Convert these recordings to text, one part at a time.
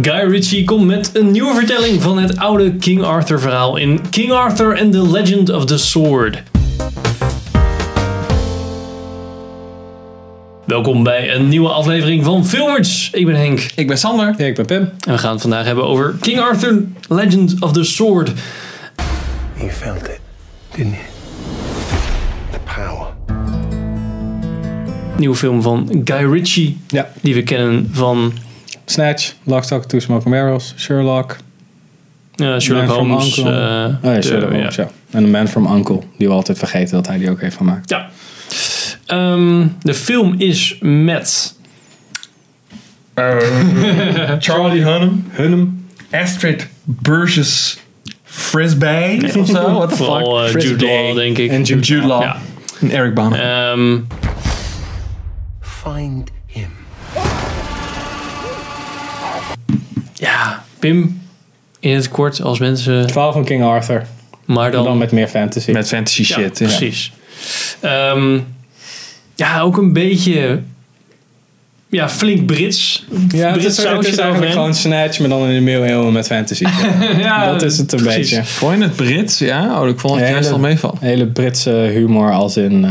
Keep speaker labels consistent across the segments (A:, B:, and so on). A: Guy Ritchie komt met een nieuwe vertelling van het oude King Arthur verhaal in King Arthur and the Legend of the Sword. Welkom bij een nieuwe aflevering van Filmers. Ik ben Henk
B: Ik ben Sander. ik ben Pim.
A: en we gaan het vandaag hebben over King Arthur Legend of the Sword.
C: You felt it, didn't you? The power.
A: Nieuwe film van Guy Ritchie,
B: Ja.
A: die we kennen van
B: Snatch, Lockstock, Two Smoking Barrels, Sherlock.
A: eh, Sherlock
B: Man from
A: Holmes.
B: Uncle.
A: eh,
B: Oh ja,
A: de-
B: Sherlock Holmes, ja. En The Man from Uncle, die we altijd vergeten dat hij die ook heeft gemaakt.
A: Ja. Ehm, de film is met
D: Charlie Hunnam,
B: Hunnam.
D: Astrid Burgess Frisbee of zo. What the fuck?
A: vooral eh, Jude Law, denk ik.
B: En Jude,
D: Jude Law.
A: Ja.
D: En Eric Bana.
A: Ehm,
C: Find him.
A: ja, Pim, in het kort als mensen,
B: Het verhaal van King Arthur.
A: maar dan,
B: Dan, met meer fantasy.
D: Met fantasy
A: ja,
D: shit. ja.
A: Precies. Ehm, ja, ook een beetje ja, flink Brits.
B: ja, het
A: Brits
B: is, het
A: sausje
B: is eigenlijk
A: eroverheen.
B: gewoon Snatch, maar dan in de middeleeuwen met fantasy.
A: Ja,
B: dat is het een
A: precies.
B: beetje.
D: Vond je het Brits? Ja? Oh, ik vond het
B: Ja,
D: juist
B: dat-
D: al meevallen.
B: Hele Britse humor als in... eh,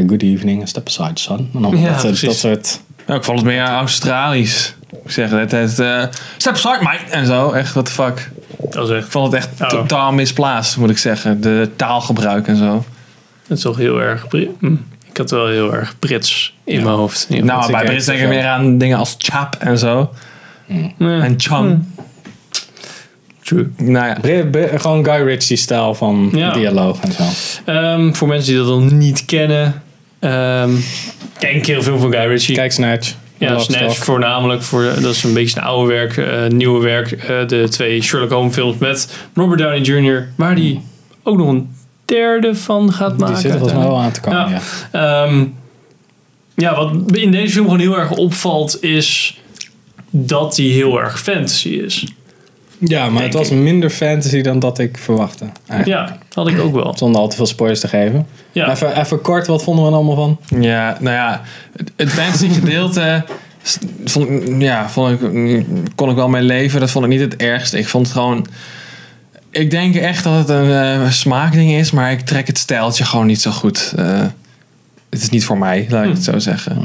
B: eh, good evening, step aside son. En dan
A: Ja,
B: dat, soort,
A: precies.
B: dat soort...
D: Nou, ik vond het meer Australisch. Ik zeg het, het eh, step aside mate en zo. Echt, what the fuck.
A: Dat is
D: Ik
A: echt,
D: vond het echt
A: Oh.
D: totaal misplaatst, moet ik zeggen. De taalgebruik en zo.
A: dat is toch heel erg Bri- hm, Ik had wel heel erg Brits in mijn hoofd. in ieder geval.
D: Nou, bij
B: ik
D: Brits
B: echt
D: denk ik
B: zo.
D: meer aan dingen als chap en zo.
A: Nee,
D: En chum.
A: true.
D: Nou ja.
B: Bri- Bri- gewoon Guy Ritchie-stijl van
A: Ja.
B: dialoog en zo.
A: Ehm, voor mensen die dat nog niet kennen, ehm, kijk een keer een film van Guy Ritchie.
B: Kijk Snatch.
A: Ja,
B: Lockstock.
A: Snatch voornamelijk. Voor, de- dat is een beetje zijn oude werk, eh, nieuwe werk. eh, de twee Sherlock Holmes films met Robert Downey Jr. Waar die ook nog een derde van gaat maken.
B: Die zit er volgens mij wel aan te komen,
A: Ja.
B: ja.
A: Ehm, ja, wat in deze film gewoon heel erg opvalt is dat die heel erg fantasy is.
B: Ja, maar
A: Denk
B: het was
A: ik.
B: minder fantasy dan dat ik verwachtte. eigenlijk.
A: Ja, dat had ik ook wel.
B: Zonder al te veel spoilers te geven.
A: Ja,
B: Even, even kort, wat vonden we er allemaal van?
D: Ja, nou ja, het- het fantasy gedeelte s- vond, ik- ja, vond ik, mm, kon ik wel mee leven. Dat vond ik niet het ergste. Ik vond het gewoon. Ik denk echt dat het een eh, smaakding is, maar ik trek het stijltje gewoon niet zo goed. Eh, het is niet voor mij, laat ik het
A: Hm.
D: zo zeggen.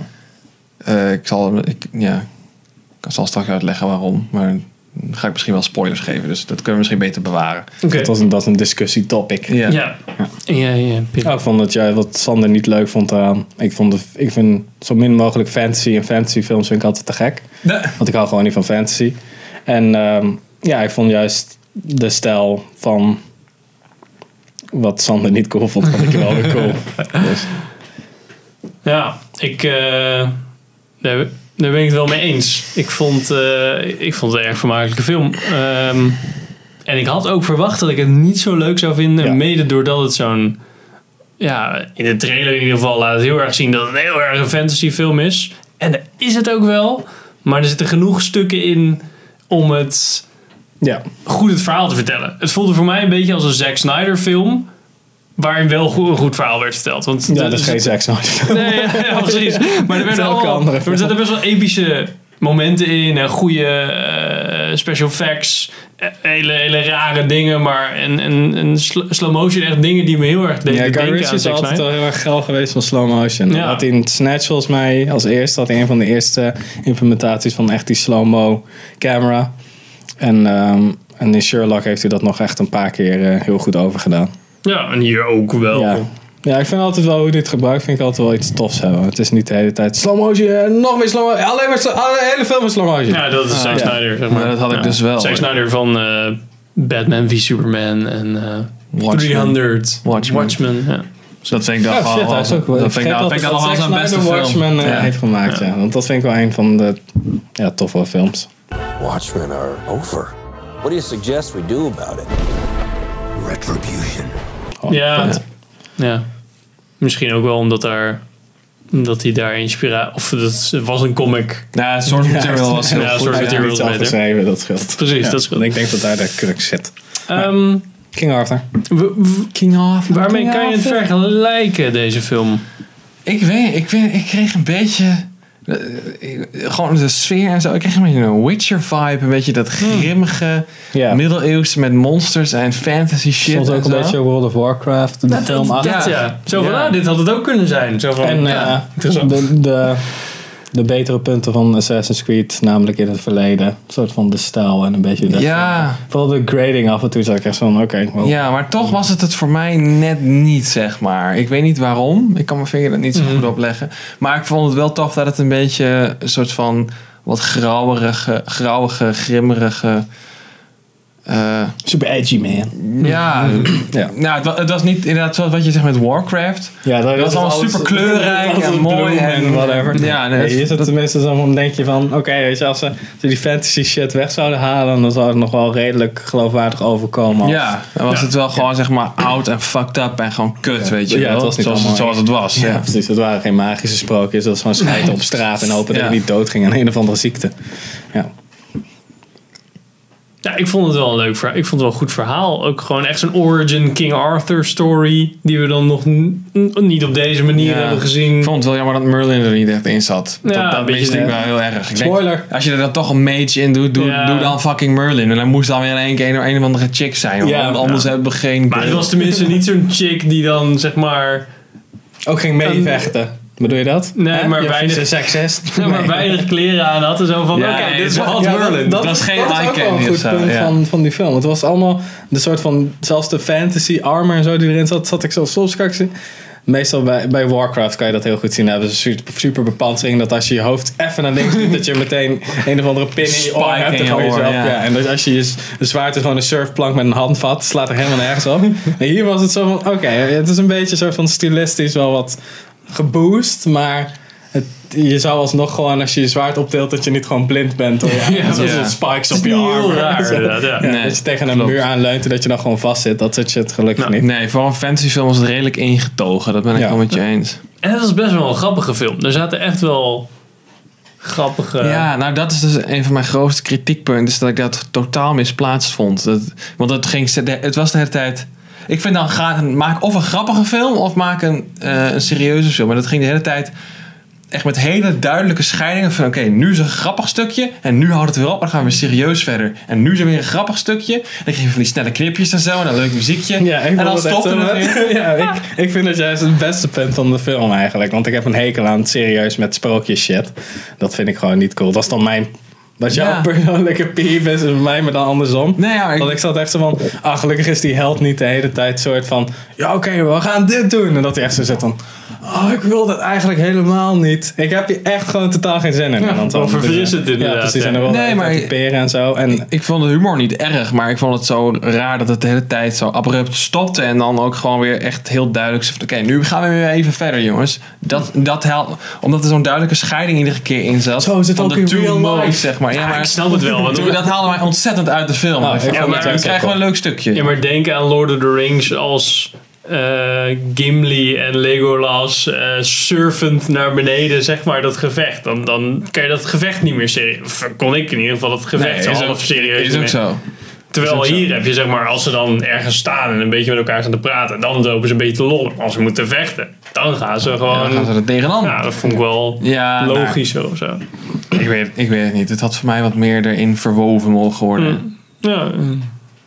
D: Eh, ik zal, ik, ja, ik zal straks uitleggen waarom, maar dan ga ik misschien wel spoilers geven. Dus dat kunnen we misschien beter bewaren.
A: oké.
B: Dat was een, dat is een discussietopic.
D: Ja.
A: Ja, ja, ja. Pim.
B: Ja, ik vond dat jij wat Sander niet leuk vond eraan. Ik, vond de, ik vind zo min mogelijk fantasy en fantasyfilms vind ik altijd te gek. Want ik hou gewoon niet van fantasy. En ehm, ja, ik vond juist de stijl van wat Sander niet cool vond, vond ik wel weer cool. Dus,
A: Ja, ik, eh, daar, daar ben ik het wel mee eens. Ik vond, eh, ik vond het een erg vermakelijke film. Ehm, en ik had ook verwacht dat ik het niet zo leuk zou vinden.
B: Ja.
A: Mede doordat het zo'n... Ja, in de trailer in ieder geval laat het heel erg zien dat het een heel erg een fantasyfilm is. En dat is het ook wel. Maar er zitten genoeg stukken in om het
B: ja.
A: goed het verhaal te vertellen. Het voelde voor mij een beetje als een Zack Snyder film. Waarin wel goed, een goed verhaal werd verteld. Want
B: ja, dat
A: er
B: is geen Zack Snyder.
A: dus Nee, ja, ja, precies. Maar er, werden
B: Elke
A: allemaal,
B: andere
A: er zaten best wel epische momenten in. En goede eh, special effects. eh, Hele, hele rare dingen. Maar en, en, en sl- slow motion echt dingen die me heel erg deden
B: Ja, Guy
A: denken
B: Ritchie
A: aan
B: is
A: Zack
B: altijd
A: Snyder.
B: wel heel erg geil geweest van slow motion.
A: Ja.
B: Dat Had hij in Snatch volgens mij als eerste, had hij een van de eerste implementaties van echt die slow-mo camera. En, ehm, en in Sherlock heeft hij dat nog echt een paar keer eh, heel goed overgedaan.
A: Ja, en hier ook wel.
B: Ja. ja, ik vind altijd wel hoe dit gebruikt, vind ik altijd wel iets tofs hebben. Het is niet de hele tijd slow motion, eh, nog meer slow motion, alleen maar slo- alle- hele film is slow motion.
A: Ja, dat is Zack
B: ja.
A: Snyder. Zeg maar.
D: Maar dat had ik
A: Ja.
D: dus wel.
A: Zack Snyder van eh, Batman v Superman en eh,
D: Watchmen.
A: 300.
D: Watchmen.
A: ja.
D: Dus dat vind ik dan
B: Ja,
D: wel.
B: shit, hij is ook wel.
D: dat
B: ik
D: vind ik
B: vergeet
D: dan- vind ik
B: altijd dat
D: dan nog
B: Zack
D: wel zijn beste
B: Snyder Watchmen
D: film.
B: eh,
D: Ja.
B: heeft gemaakt, ja. Want dat vind ik wel een van de ja, toffe films.
E: Watchmen are over.
F: What do you suggest we do about it?
E: Retribution.
A: Ja. ja. Misschien ook wel omdat daar omdat hij daar inspiratie of dat was een comic.
D: Ja, Source Material was heel
A: Ja,
D: goed.
A: Source
B: Hij heeft
A: Material.
B: er
A: is
B: iets al
A: beter.
B: geschreven, dat scheelt.
A: Precies, dat scheelt.
B: Ik denk dat daar de crux zit.
A: Ehm,
B: King Arthur.
A: w- w-
D: King Arthur.
A: waarmee
D: King
A: kan je het
D: Arthur.
A: vergelijken deze film?
D: Ik weet, ik weet, ik kreeg een beetje eh, gewoon de sfeer en zo. Ik kreeg een beetje een Witcher-vibe. Een beetje dat grimmige,
B: Ja.
D: middeleeuwse met monsters en fantasy shit.
B: Soms ook
D: en
B: een
D: zo.
B: beetje World of Warcraft, de film
A: dat,
B: achter.
A: dat, ja. Zo van,
D: Ja.
A: ah, dit had het ook kunnen zijn. Zo van,
B: En
A: ja,
B: eh, de, de, de betere punten van Assassin's Creed, namelijk in het verleden. Een soort van de stijl en een beetje de...
D: Ja,
B: Vooral de grading af en toe zag ik echt van, oké, wow.
D: ja, maar
B: Oh.
D: toch was het het voor mij net niet, zeg maar. Ik weet niet waarom. Ik kan mijn vinger er niet zo goed op leggen. Maar ik vond het wel tof dat het een beetje een soort van wat grauwerige, grauwige, grimmerige... eh,
B: super edgy man.
D: ja,
B: Ja.
D: Nou, het, wa- het was niet inderdaad zoals wat je zegt met Warcraft.
B: Ja, dat,
D: Dat is allemaal super kleurrijk en mooi en
B: whatever.
D: Ja,
B: Ja,
D: nee, dat-
B: hier is het
D: dat-
B: tenminste zo van, denk je van, oké, weet je, als ze, als ze die fantasy shit weg zouden halen, dan zou het nog wel redelijk geloofwaardig overkomen. als-
D: Ja, dan was het wel gewoon zeg maar oud en fucked up en gewoon kut, weet je
B: Ja,
D: wel.
B: het was niet
D: zoals,
B: allemaal
D: zoals het was.
B: Ja, precies. Dat waren geen magische sprookjes. Dat was gewoon schijten op straat en hopen
D: Ja.
B: dat je niet dood ging aan een of andere ziekte. Ja.
A: Ja, ik vond het wel een leuk verhaal. Ik vond het wel een goed verhaal. Ook gewoon echt zo'n origin King Arthur story. Die we dan nog n- n- niet op deze manier
D: Ja.
A: hebben gezien.
D: Ik vond het wel jammer dat Merlin er niet echt in zat.
A: Ja,
D: dat
A: een
D: dat
A: beetje,
D: miste
A: ja.
D: ik wel heel erg. Ik denk,
B: Spoiler.
D: als je er dan toch een mage in doet, doe,
A: Ja.
D: doe dan fucking Merlin. En hij moest dan weer in één keer een, een of andere chick zijn. hoor.
B: Ja,
D: Want anders
A: ja.
D: hebben we geen...
A: maar het was tenminste niet zo'n chick die dan zeg maar...
B: Ook ging
A: Ehm,
B: meevechten. Bedoel je dat?
A: Nee,
B: Hè?
A: maar
B: Je
A: weinig-
B: vieze seksist.
A: zeg maar
B: Nee.
A: weinig kleren aan had. En zo van,
D: Ja,
A: oké,
D: nee,
A: dit is
D: dat-
A: Hot
D: ja,
B: dat-
A: Merlin.
D: dat is geen
B: is ook
D: eye
B: wel een
D: candy of
B: goed
D: zo,
B: punt
D: ja.
B: van, van die film. Het was allemaal de soort van, zelfs de fantasy armor en zo die erin zat, zat ik zelfs soms straks in. Meestal bij, bij Warcraft kan je dat heel goed zien. Daar hebben ze een super, super bepansering dat als je je hoofd even naar links doet, dat je meteen een of andere pin in je oor
D: Spike
B: hebt.
D: in
B: en
D: je
B: gewoon
D: oor,
B: jezelf-
D: ja.
B: ja. En dat als je je s- de zwaard is gewoon een surfplank met een handvat, slaat er helemaal nergens op. En hier was het zo van, oké, het is een beetje zo van stilistisch wel wat geboost, maar... het- Je zou alsnog gewoon, als je je zwaard optilt, dat je niet gewoon blind bent. Of, ja, zoals
D: Ja.
B: spikes op
A: is
B: je
A: niet heel
B: arm.
A: raar, inderdaad, ja.
B: Ja,
D: Nee,
B: dat je tegen een
D: klopt. Nou,
B: muur aanleunt en dat je dan gewoon vast zit. Dat soort shit gelukkig niet.
D: Nee, voor een fantasyfilm was het redelijk ingetogen. Dat ben ik
B: Ja.
D: wel met je eens.
A: En het was best wel een grappige film. Er zaten echt wel grappige...
B: eh,
D: Ja, nou dat is dus een van mijn grootste kritiekpunten. Is dat ik dat totaal misplaatst vond. Dat, want het, ging, ze- de- het was de hele tijd... Ik vind dan, ga, maak of een grappige film of maak een, eh, een serieuze film. Maar dat ging de hele tijd echt met hele duidelijke scheidingen van... Oké, nu is een grappig stukje en nu houdt het weer op. Maar dan gaan we weer serieus verder. En nu is er weer een grappig stukje. En dan kreeg je van die snelle knipjes en zo en een leuk muziekje.
B: Ja, ik
D: en
B: vond
D: dan
B: het echt
D: stopte
B: zo
D: het weer.
B: wat. ja, ik, ik vind dat juist het beste punt van de film eigenlijk. Want ik heb een hekel aan het serieus met sprookjes shit. Dat vind ik gewoon niet cool. Dat is dan mijn... Wat jouw
D: Ja.
B: persoonlijke peeve is, is bij mij maar dan andersom.
D: Nee, ja, ik-
B: Want ik zat echt zo van... Ah, gelukkig is die held niet de hele tijd soort van... Ja, oké, we gaan dit doen. En dat hij echt zo zit dan... Oh, ik wil dat eigenlijk helemaal niet. Ik heb hier echt gewoon totaal geen zin in. Ja, dan
A: wel verfrissend inderdaad,
B: Ja, precies.
A: ja.
B: En dan wel
D: Nee,
B: nee,
D: maar-
B: maar... peren en zo. En
D: Ik vond de humor niet erg, maar ik vond het zo raar dat het de hele tijd zo abrupt stopte. En dan ook gewoon weer echt heel duidelijk. zei van, Oké, nu gaan we weer even verder, jongens. Dat, dat helpt. Omdat er zo'n duidelijke scheiding iedere keer in zat.
B: Zo is het
D: Van
B: ook
D: de
B: in
D: two
B: real
D: modes,
B: life.
D: zeg maar. Ja,
A: ik
D: maar
A: snap het wel. Want
D: toen- dat haalde mij ontzettend uit de film.
B: Ah,
D: Ik vond,
B: ik
D: ja,
B: vond
D: maar
B: het
D: we
B: ook
D: krijgen
B: wel.
D: wel een leuk stukje.
A: Ja, maar denk aan Lord of the Rings als eh, Gimli en Legolas eh surfend naar beneden, zeg maar, dat gevecht. Dan, dan kan je dat gevecht niet meer serieus... Kon ik in ieder geval dat
D: Nee,
A: gevecht
D: is
A: zo
D: ook-
A: half serieus
D: Is ook
A: nemen.
D: zo.
A: Terwijl
D: is ook zo.
A: hier heb je, zeg maar, als ze dan ergens staan en een beetje met elkaar staan te praten, dan lopen ze een beetje te lollen. Als ze moeten vechten, dan gaan ze
D: Ja,
A: gewoon...
D: Dan
A: Ja,
D: gaan ze er tegenaan.
A: dat vond ik wel
D: Ja, nou,
A: logisch of zo.
D: ik, weet, ik weet het niet. Het had voor mij wat meer erin verwoven mogen worden.
A: Hmm. Ja,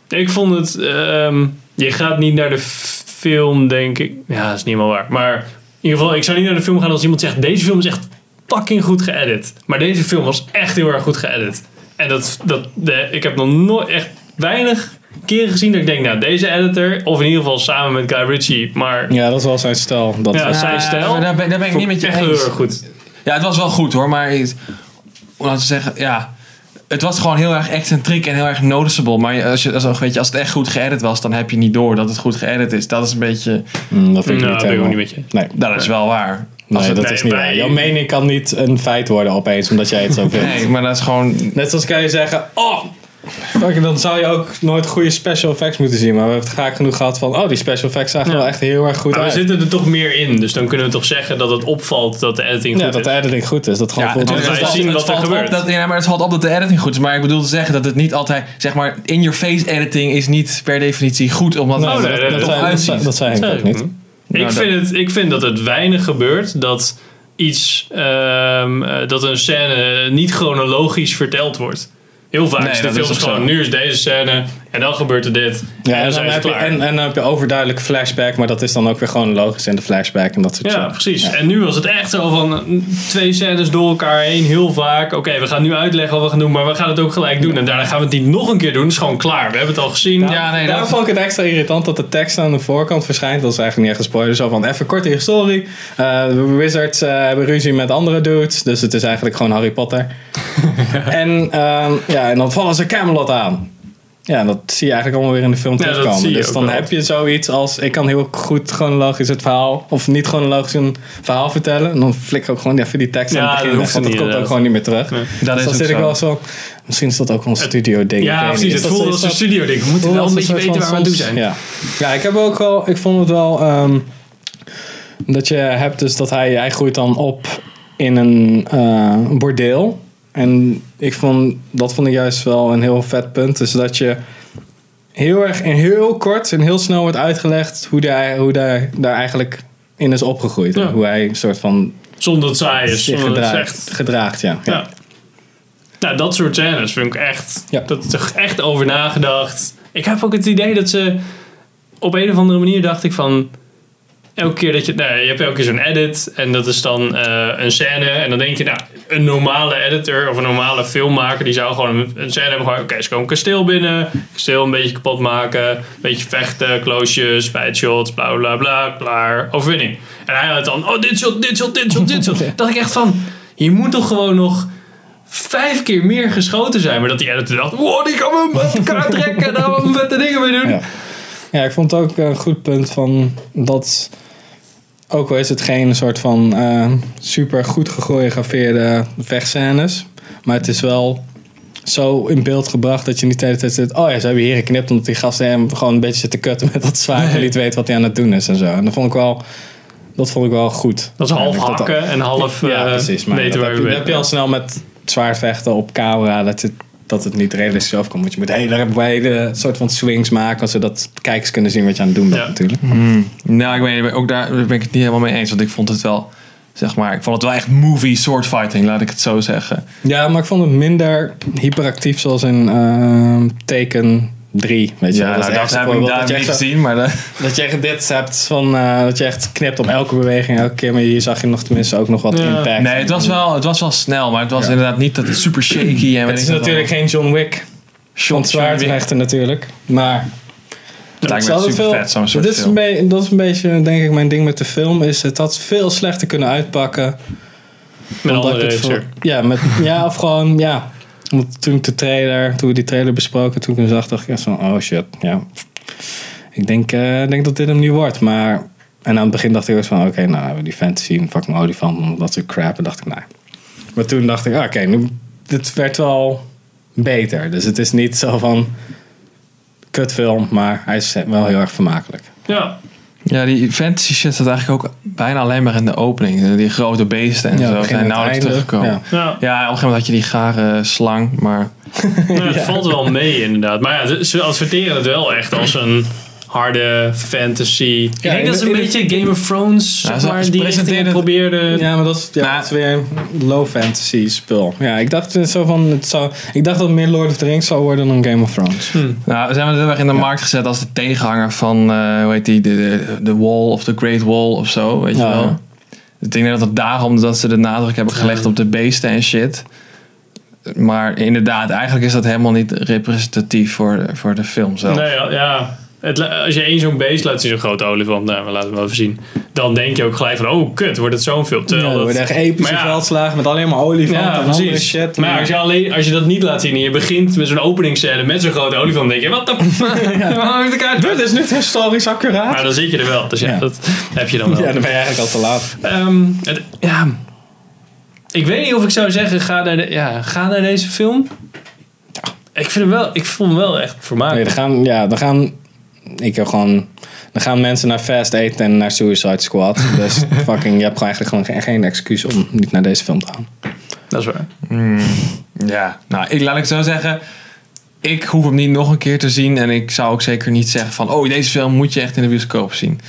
A: ik vond het. ehm, je gaat niet naar de f- film, denk ik. Ja, dat is niet helemaal waar. Maar in ieder geval, ik zou niet naar de film gaan als iemand zegt: deze film is echt fucking goed geëdit. Maar deze film was echt heel erg goed geëdit. En dat, dat, de, ik heb nog nooit echt weinig keren gezien dat ik denk: nou, deze editor, of in ieder geval samen met Guy Ritchie, maar.
B: Ja, dat is wel zijn stijl. Dat
A: Ja, zijn stijl.
D: Nou, maar daar ben- daar ben ik
A: vond
D: niet met je
A: echt heel
D: eens.
A: erg goed.
D: Ja, het was wel goed hoor, maar het- om laten we zeggen, ja. Het was gewoon heel erg excentriek en heel erg noticeable. Maar als, je, als, een- weet je, als het echt goed geëdit was, dan heb je niet door dat het goed geëdit is. Dat is een beetje. nou,
B: Mm, dat vind
A: Nou,
B: ik niet
A: dat ben ik ook
B: helemaal.
A: niet met je.
B: Nee,
D: Dat is wel waar. Als
B: nee
D: het-
B: dat
A: nee,
B: is niet
A: wij-
B: waar. Jouw mening kan niet een feit worden opeens, omdat jij het zo vindt.
D: nee, maar dat is gewoon.
B: Net zoals kan je zeggen, oh, fuck, dan zou je ook nooit goede special effects moeten zien. Maar we hebben het vaak genoeg gehad van, oh, die special effects zagen wel echt heel erg
D: Nou,
B: goed
A: Maar we
B: uit.
A: zitten er toch meer in, dus dan kunnen we toch zeggen dat het opvalt dat de editing
B: ja,
A: goed
B: dat
A: is.
B: de editing goed is. Dat gewoon
D: Ja,
B: voelt
D: het-
B: als-
A: wij
D: het valt-
A: zien
D: het
A: wat er
D: valt op
A: gebeurt.
D: dat- Ja, maar het valt op dat de editing goed is. Maar ik bedoel te zeggen dat het niet altijd. Zeg maar, in your face editing is niet per definitie goed. Omdat
A: Oh,
D: het
A: nee,
D: er
A: nee,
B: dat,
A: nee,
D: tof
B: zei, dat,
D: uitziet.
B: zei- dat zei ik ook niet.
A: Ik,
D: Nou,
A: vind het, ik vind dat het weinig gebeurt dat iets ehm, eh, dat een scène niet chronologisch verteld wordt. Heel vaak
D: Nee,
A: is de
D: dat
A: film
D: is ook
A: gewoon,
D: zo.
A: nu is deze scène en dan gebeurt er dit. en
B: Ja, en,
A: dan
B: dan
A: zijn ze
B: heb je,
A: klaar.
B: en, en dan heb je overduidelijke flashback, maar dat is dan ook weer gewoon logisch in de flashback en dat soort
A: Ja,
B: shit.
A: precies. En nu was het echt zo van eh, twee scènes door elkaar heen, heel vaak. Oké, we gaan nu uitleggen wat we gaan doen, maar we gaan het ook gelijk doen. En daarna gaan we het niet nog een keer doen. Het is gewoon klaar. We hebben het al gezien.
D: Ja, nee,
B: Daarom
D: dat,
B: vond ik het extra irritant dat de tekst aan de voorkant verschijnt. Dat is eigenlijk niet echt een spoiler. Zo van, even kort hier, sorry. Eh, de Wizards eh, hebben ruzie met andere dudes. Dus het is eigenlijk gewoon Harry Potter. en, ehm, ja, en dan vallen ze Camelot aan. Ja, dat zie je eigenlijk allemaal weer in de film
A: Ja, dat
B: terugkomen.
A: zie je
B: dus
A: ook
B: dan
A: wel.
B: heb je zoiets als... Ik kan heel goed chronologisch het verhaal... Of niet chronologisch een verhaal vertellen. En dan flik ik ook gewoon even die tekst
A: Ja,
B: aan het
A: dat
B: begin weg.
A: hoeft
B: Want dat
A: niet,
B: komt ook
A: inderdaad.
B: gewoon niet meer terug.
A: Nee.
B: Dus
D: dat is
B: dan
D: ook
B: zit ik
D: zo.
B: wel zo... Misschien is dat ook een studio ding.
A: Ja, precies. Het voelde als een studio ding. We moeten wel een beetje weten waar we aan toe zijn.
B: Ja. ja, ik heb ook wel, ik vond het wel ehm, dat je hebt dus dat hij, hij groeit dan op in een eh, bordeel. En ik vond, dat vond ik juist wel een heel vet punt. Dus dat je heel erg en heel kort en heel snel wordt uitgelegd hoe hij hoe daar, daar eigenlijk in is opgegroeid.
A: Ja.
B: En Hoe hij een soort van
A: Zonder dat het saai is.
B: zich
A: Zonder dat het
B: gedraagt,
A: echt...
B: gedraagt ja.
A: Ja. Nou, dat soort scènes vind ik echt...
B: Ja.
A: Dat is toch echt over nagedacht. Ik heb ook het idee dat ze... Op een of andere manier dacht ik van... Elke keer dat je... Nou, je hebt elke keer zo'n edit. En dat is dan eh, een scène. En dan denk je, nou... Een normale editor of een normale filmmaker... Die zou gewoon een, een scène hebben. gewoon, Oké, ze komen een kasteel binnen. Kasteel een beetje kapot maken. Een beetje vechten. Kloosjes, spijtshots. Bla, bla, bla. Klaar. Overwinning. En hij had dan... Oh, dit shot, dit shot, dit shot, dit shot. Dacht ik echt van... Je moet toch gewoon nog vijf keer meer geschoten zijn. Maar dat die editor dacht, wow, die kan me uit elkaar trekken. en Daar gaan we vette dingen mee doen.
B: Ja. Ja, ik vond het ook een goed punt van dat. Ook al is het geen soort van eh, super goed gechoreografeerde vechtscènes. Maar het is wel zo in beeld gebracht dat je niet de hele tijd zit. Oh ja, ze hebben hier geknipt omdat die gasten hem gewoon een beetje zitten kutten met dat zwaar. En niet weet wat hij aan het doen is en zo. En dat vond ik wel, dat vond ik wel goed.
A: Dat is half
B: Eigenlijk dat-
A: hakken en half
B: ja,
A: eh,
B: precies. Maar
A: weten
B: dat
A: waar
B: heb,
A: je
B: je,
A: bent.
B: dat heb je al snel met zwaardvechten op camera. Dat het, dat het niet realistisch overkomt. Want je moet hele, hele soort van swings maken. Zodat kijkers kunnen zien wat je aan het doen bent
A: Ja.
B: natuurlijk.
D: nou, ik weet, niet, ook daar ben ik het niet helemaal mee eens. Want ik vond het wel, zeg maar, ik vond het wel echt movie sword fighting, laat ik het zo zeggen.
B: Ja, maar ik vond het minder hyperactief zoals in ehm, Teken 3. Weet je,
D: Ja,
B: wel.
D: nou,
B: is
D: dat
B: echt
D: heb ik
B: voorbeeld
D: daar
B: dat je
D: niet
B: echt zo-
D: gezien, maar dat-
B: Dat je echt dit hebt van eh, dat je echt knipt op elke beweging elke keer. Maar hier zag je nog tenminste ook nog wat
A: Ja.
B: impact.
D: nee, het was, wel, het was wel snel, maar het was inderdaad niet dat het super shaky en weet
B: het is
D: ik wat
B: natuurlijk geen John Wick.
D: allemaal.
B: Want zwaardvechten natuurlijk. Maar
D: Het lijkt me
B: Zou
D: echt
B: dat
D: super
B: veel-
D: vet, zo'n soort
B: dit is
D: film.
B: een be- dat is een beetje, denk ik, mijn ding met de film. Is het had veel slechter kunnen uitpakken.
A: Met een
B: omdat
A: andere
B: ik het
A: regisseur.
B: voor- ja, met, ja, of gewoon, ja. Want toen ik de trailer, toen we die trailer besproken, toen ik hem zag, dacht ik echt van, oh shit, ja. Ik denk, eh, ik denk dat dit hem niet wordt, maar... En aan het begin dacht ik ook van, oké, nou hebben we die fantasy en fucking olifant en dat soort crap. En dacht ik, nou... Maar toen dacht ik, ah, oké, nu, dit werd wel beter. Dus het is niet zo van, kutfilm, maar hij is wel heel erg vermakelijk.
A: Ja,
D: Ja, die fantasy shit staat eigenlijk ook bijna alleen maar in de opening. Die grote beesten en
B: Ja,
D: zo
B: begin
D: zijn
B: en
D: nauwelijks
B: einde.
D: teruggekomen. Ja.
B: Ja.
A: ja.
D: op een gegeven moment had je die gare slang, maar
A: Nou, het valt wel mee inderdaad. Maar ja, ze adverteren het wel echt als een harde fantasy. Ik denk
B: in
A: dat
B: de-
A: ze een
B: in de-
A: beetje Game of Thrones
D: Ja,
A: zeg
D: ze-
A: maar,
D: ze
A: die richting
D: presenteerden-
A: probeerden.
B: Ja, maar dat is, ja,
D: Maar-
B: dat is weer een low fantasy spul. Ja, ik dacht zo van, het zou, ik dacht dat het meer Lord of the Rings zou worden dan Game of Thrones.
A: Hm.
D: nou, we zijn we heel erg in de markt gezet als de tegenhanger van, eh, hoe heet die, de, de, de Wall of the Great Wall of zo, weet
B: Ja,
D: je wel.
B: ja.
D: Ik denk dat het daarom dat ze de nadruk hebben gelegd op de beesten en shit. Maar inderdaad, eigenlijk is dat helemaal niet representatief voor, voor de film zelf.
A: Nee, Nou ja, ja. Het, la- als je één zo'n beest laat zien, zo'n grote olifant, nou, we laten we wel even zien. Dan denk je ook gelijk van, oh kut, wordt het zo'n film.
B: Ja,
A: Terwijl
B: er
A: dat-
B: worden echt epische
A: Maar ja,
B: veldslagen met alleen maar olifanten
A: Ja,
B: en andere
A: precies.
B: shit. eh,
A: maar als je, alleen, als je dat niet laat zien en je begint met zo'n openingscène met zo'n grote olifant, dan denk je, wat de fuck? Waarom heb ik elkaar
B: Dit is niet historisch accuraat.
A: Maar dan zit je er wel, dus ja,
B: Ja.
A: dat heb je dan wel.
B: ja, dan ben je eigenlijk al te laat.
A: Ehm, het- ja. Ik weet niet of ik zou zeggen, ga naar, de- ja, ga naar deze film. Ik, vind hem wel, ik vond hem wel echt
B: Nee, dan
A: vermakelijk.
B: gaan, ja, dan gaan, ik heb gewoon, dan gaan mensen naar Fast 8 en naar Suicide Squad. Dus fucking, je hebt gewoon eigenlijk gewoon geen, geen excuus om niet naar deze film te gaan.
A: Dat is waar.
D: Ja, nou, ik, laat ik het zo zeggen. Ik hoef hem niet nog een keer te zien. En ik zou ook zeker niet zeggen van... Oh, deze film moet je echt in de bioscoop zien.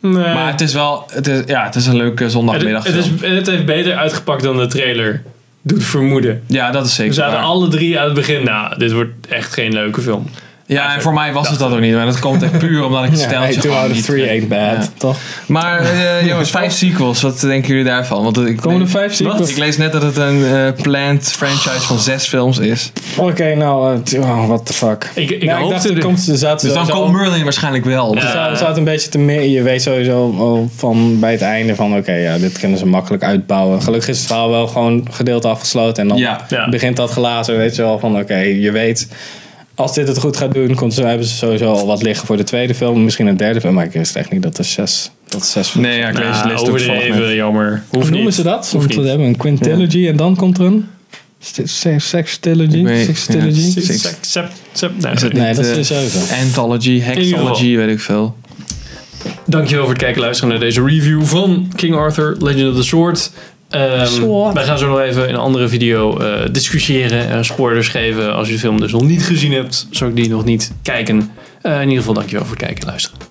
A: Nee.
D: Maar het is wel, het is, ja, het is een leuke
A: het, Eh. het,
D: zondagmiddagfilm.
A: is, het heeft beter uitgepakt dan de trailer doet vermoeden.
D: ja, dat is
A: We
D: zeker
A: zaten
D: waar.
A: alle drie aan het begin, nou, dit wordt echt geen leuke film.
D: ja, en voor mij was het dat ook niet. Maar dat komt echt puur omdat ik het
B: Ja, hey,
D: steltje
B: two
D: gewoon
B: out of
D: niet...
B: three ain't bad,
D: Ja.
B: toch?
D: Maar eh, jongens, vijf sequels. Wat denken jullie daarvan? Want ik,
B: Komen er
D: ik-
B: vijf
D: Wat?
B: sequels?
D: Ik lees net dat het een eh, planned franchise van zes films is.
B: Oké, nou, eh, t- oh, what the fuck.
A: Ik, ik
B: Ja, ik
A: hoopte
B: dacht, er
A: er-
B: komt, er zaten
D: Dus dan
B: sowieso-
D: komt Merlin waarschijnlijk wel.
B: er
A: Ja.
B: zaten- er zaten een beetje te meer. Je weet sowieso al van bij het einde van, oké, ja, dit kunnen ze makkelijk uitbouwen. Gelukkig is het verhaal wel gewoon gedeeld afgesloten. En dan
D: Ja.
A: Ja.
B: begint dat glazen, weet je wel, van oké, je weet... Als dit het goed gaat doen, komt, ze- hebben ze sowieso al wat liggen voor de tweede film. Misschien een derde film, maar ik wist echt niet dat er zes... Dat er zes
D: Nee, ja, ik lees,
A: Nou,
D: lees het ook toevallig net.
A: overdreven, jammer.
B: Hoe
A: Hoeft
B: noemen
A: niet.
B: ze dat?
A: Hoeft
B: Want we
A: niet.
B: hebben een quintilogy en dan komt er een...
D: Ik
B: Sextilogy?
D: weet-
B: Sextilogy?
D: ja,
A: Six,
D: six.
A: sec- sep- sep- nee,
D: Is het
B: Nee,
D: niet,
B: dat is
D: eh,
B: dus sowieso.
D: Anthology, Hexology, weet ik veel.
A: Dankjewel voor het kijken en luisteren naar deze review van King Arthur, Legend of the Sword. Ehm,
B: Sword.
A: Wij gaan zo nog even in een andere video eh, discussiëren en spoilers geven. Als je de film dus nog niet gezien hebt, zou ik die nog niet kijken. Eh, in ieder geval, dankjewel voor het kijken en luisteren.